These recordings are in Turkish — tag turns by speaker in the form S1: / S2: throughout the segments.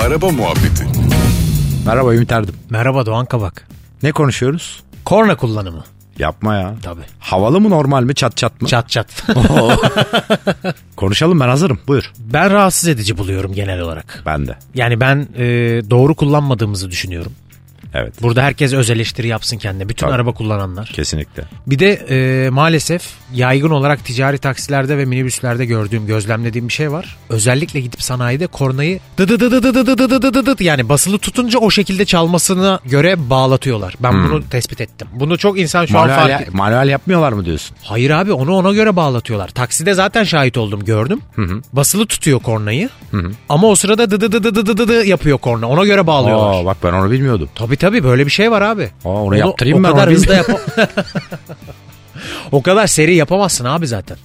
S1: Araba muhabbeti.
S2: Merhaba Ümit Erdem.
S3: Merhaba Doğan Kabak.
S2: Ne konuşuyoruz?
S3: Korna kullanımı.
S2: Yapma ya.
S3: Tabii.
S2: Havalı mı normal mi çat çat mı?
S3: Çat çat.
S2: Konuşalım ben hazırım buyur.
S3: ben rahatsız edici buluyorum genel olarak.
S2: Ben de.
S3: Yani ben e, doğru kullanmadığımızı düşünüyorum.
S2: Evet
S3: Burada herkes öz eleştiri yapsın kendine. Bütün
S2: Tabii.
S3: araba kullananlar.
S2: kesinlikle.
S3: Bir de e, maalesef yaygın olarak ticari taksilerde ve minibüslerde gördüğüm, gözlemlediğim bir şey var. Özellikle gidip sanayide kornayı dı dı dı dı dı dı dı dı dı dı dı dı yani basılı tutunca o şekilde çalmasına göre bağlatıyorlar. Ben bunu tespit ettim. Bunu çok insan şu an fark
S2: Hmm. Manuel, manuel yapmıyorlar mı diyorsun?
S3: Hayır abi onu ona göre bağlatıyorlar. Takside zaten şahit oldum gördüm. Basılı tutuyor kornayı. Ama o sırada dı dı dı dı dı dı dı dı yapıyor korna. Ona göre bağlıyorlar.
S2: Aa, bak ben onu bilmiyordum.
S3: Tabii tabii böyle bir şey var abi.
S2: Aa, onu yaptırayım
S3: o
S2: ben,
S3: kadar
S2: onu
S3: hızlı yapa- O kadar seri yapamazsın abi zaten.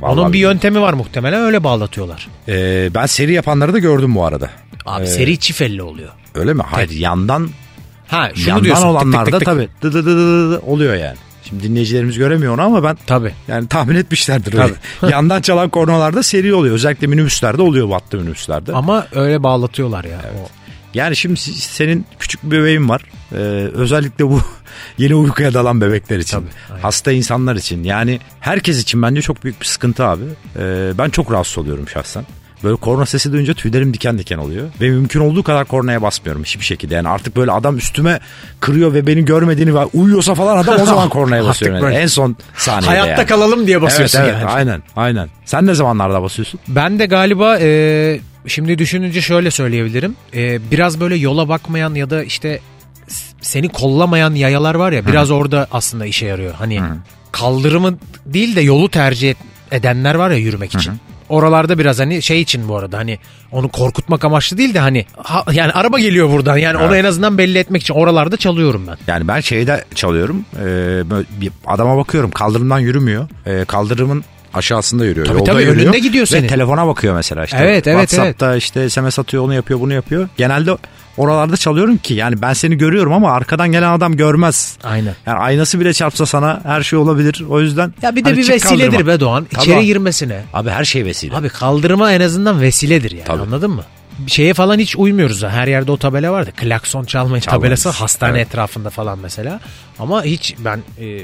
S2: Vallahi
S3: Onun bir
S2: bilmiyorum.
S3: yöntemi var muhtemelen öyle bağlatıyorlar.
S2: Ee, ben seri yapanları da gördüm bu arada.
S3: Abi
S2: Ee,
S3: seri çifelli oluyor.
S2: Öyle mi? Hayır yandan
S3: Ha şunu
S2: yandan
S3: diyorsun. tık tık
S2: olanlar
S3: tık
S2: da
S3: tık.
S2: tabii dı dı dı dı dı oluyor yani. Şimdi dinleyicilerimiz göremiyor onu ama ben
S3: Tabii.
S2: yani tahmin etmişlerdir. öyle. yandan çalan kornalarda seri oluyor. Özellikle minibüslerde oluyor battı minibüslerde.
S3: Ama öyle bağlatıyorlar ya. O-
S2: Yani şimdi si- senin küçük bir bebeğin var. Ee, özellikle bu yeni uykuya dalan bebekler için.
S3: Tabii, aynen.
S2: hasta insanlar için. Yani herkes için bence çok büyük bir sıkıntı abi. Ee, ben çok rahatsız oluyorum şahsen. Böyle korna sesi duyunca tüylerim diken diken oluyor. Ve mümkün olduğu kadar kornaya basmıyorum hiçbir şekilde. Yani artık böyle adam üstüme kırıyor ve beni görmediğini ve uyuyorsa falan adam o zaman kornaya
S3: Artık
S2: basıyor. yani.
S3: böyle-
S2: En son saniyede
S3: Hayatta
S2: yani.
S3: kalalım diye basıyorsun
S2: evet, evet,
S3: yani.
S2: Aynen aynen. Sen ne zamanlarda basıyorsun?
S3: Ben de galiba e, şimdi düşününce şöyle söyleyebilirim. E, biraz böyle yola bakmayan ya da işte s- seni kollamayan yayalar var ya biraz orada aslında işe yarıyor. Hani kaldırımı değil de yolu tercih et- edenler var ya yürümek için. Oralarda biraz hani şey için bu arada hani onu korkutmak amaçlı değil de hani ha- yani araba geliyor buradan yani onu en azından belli etmek için oralarda çalıyorum ben.
S2: Yani ben şeyde çalıyorum. Ee, böyle bir adama bakıyorum. Kaldırımdan yürümüyor. Ee, kaldırımın aşağısında yürüyor.
S3: Tabii,
S2: yolda
S3: tabii,
S2: yürüyor.
S3: önünde gidiyor
S2: Ve
S3: senin.
S2: telefona bakıyor mesela işte.
S3: Evet, evet,
S2: WhatsApp'ta işte SMS atıyor onu yapıyor bunu yapıyor. Genelde oralarda çalıyorum ki yani ben seni görüyorum ama arkadan gelen adam görmez.
S3: Aynen.
S2: Yani aynası bile çarpsa sana her şey olabilir. O yüzden
S3: Ya bir de
S2: hani
S3: bir
S2: çık
S3: vesiledir
S2: kaldırıma.
S3: be Doğan.
S2: Tabii
S3: İçeri
S2: abi.
S3: girmesine.
S2: Abi her şey vesile.
S3: Abi kaldırma en azından vesiledir yani
S2: Tabii.
S3: anladın mı? Şeye falan hiç uymuyoruz. ha. Her yerde o tabela vardı. Klakson çalmayın
S2: Çalmayın.
S3: tabelası hastane
S2: Evet.
S3: etrafında falan mesela. Ama hiç ben e,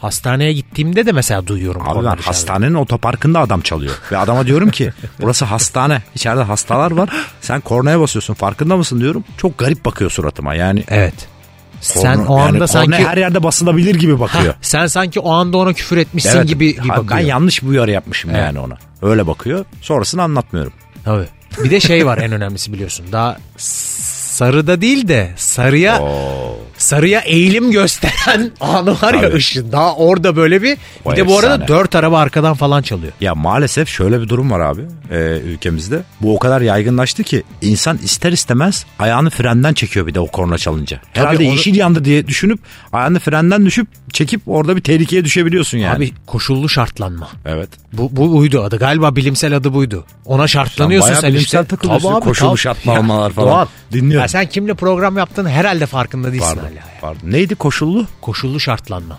S3: hastaneye gittiğimde de mesela duyuyorum.
S2: Abi
S3: korna
S2: ben
S3: dışarıda.
S2: hastanenin otoparkında adam çalıyor. Ve adama diyorum ki burası hastane. İçeride hastalar var. Sen kornaya basıyorsun farkında mısın diyorum. Çok garip bakıyor suratıma yani.
S3: Evet.
S2: Korna-
S3: sen o
S2: yani
S3: anda
S2: korna
S3: sanki
S2: her yerde basılabilir gibi bakıyor.
S3: Hah, sen sanki o anda ona küfür etmişsin
S2: Evet.
S3: gibi,
S2: Ha,
S3: gibi bakıyor.
S2: Ben yanlış bir uyarı yapmışım
S3: Evet.
S2: yani ona. Öyle bakıyor. Sonrasını anlatmıyorum.
S3: Tabii. Bir de şey var en önemlisi biliyorsun. Daha sarıda değil de sarıya sarıya eğilim gösteren anı var ya
S2: Tabii.
S3: ışın. Daha orada böyle bir
S2: O
S3: bir de bu arada
S2: efsane.
S3: dört araba arkadan falan çalıyor.
S2: Ya maalesef şöyle bir durum var abi e, ülkemizde. Bu o kadar yaygınlaştı ki insan ister istemez ayağını frenden çekiyor bir de o korna çalınca. Herhalde
S3: onu-
S2: yeşil yandı diye düşünüp ayağını frenden düşüp çekip orada bir tehlikeye düşebiliyorsun yani.
S3: Abi koşullu şartlanma.
S2: evet.
S3: Bu, bu buydu adı. Galiba bilimsel adı buydu. Ona şartlanıyorsun
S2: bayağı
S3: sen
S2: bilimsel
S3: işte.
S2: takılıyorsun.
S3: Tabii abi,
S2: Koşullu
S3: tabii.
S2: şartlanmalar falan.
S3: Doğan,
S2: Dinliyorum.
S3: ya sen kimle program yaptığın herhalde farkında değilsin
S2: Pardon.
S3: hala. ya.
S2: pardon. Neydi koşullu?
S3: Koşullu şartlanma.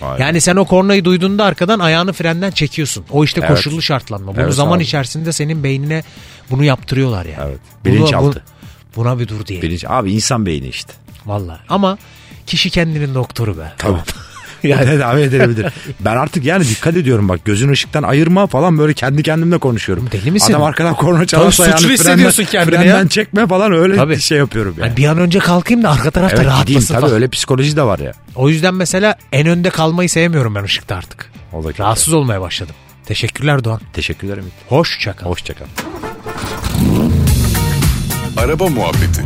S2: Vay.
S3: Yani sen o kornayı duyduğunda arkadan ayağını frenden çekiyorsun. O işte
S2: Evet.
S3: koşullu şartlanma. Bunu
S2: Evet
S3: zaman
S2: abi.
S3: içerisinde senin beynine bunu yaptırıyorlar yani.
S2: Evet.
S3: Buna-
S2: Bilinçaltı.
S3: bu- Buna bir dur diye.
S2: Bilinç. Abi insan beyni işte.
S3: Valla. Ama kişi kendinin doktoru be.
S2: Tabii. yani tedavi edilebilir. Ben artık yani dikkat ediyorum bak gözün ışıktan ayırma falan böyle kendi kendimle konuşuyorum.
S3: Deli misin?
S2: Adam arkadan korna
S3: Tabii
S2: çalarsa
S3: suçlu
S2: ayağını
S3: hissediyorsun
S2: frenden-
S3: kendini
S2: frenden
S3: ya.
S2: çekme falan öyle
S3: Tabii.
S2: şey yapıyorum yani.
S3: Hani bir an önce kalkayım da arka
S2: Evet
S3: tarafta
S2: gideyim
S3: rahatlasın
S2: tabii
S3: falan.
S2: öyle psikoloji de var ya.
S3: O yüzden mesela en önde kalmayı sevmiyorum ben ışıkta artık.
S2: O da kötü.
S3: Rahatsız olmaya başladım. Teşekkürler Doğan.
S2: Teşekkürler Ümit.
S3: Hoşça kal.
S2: Hoşçakal.
S1: Araba muhabbeti.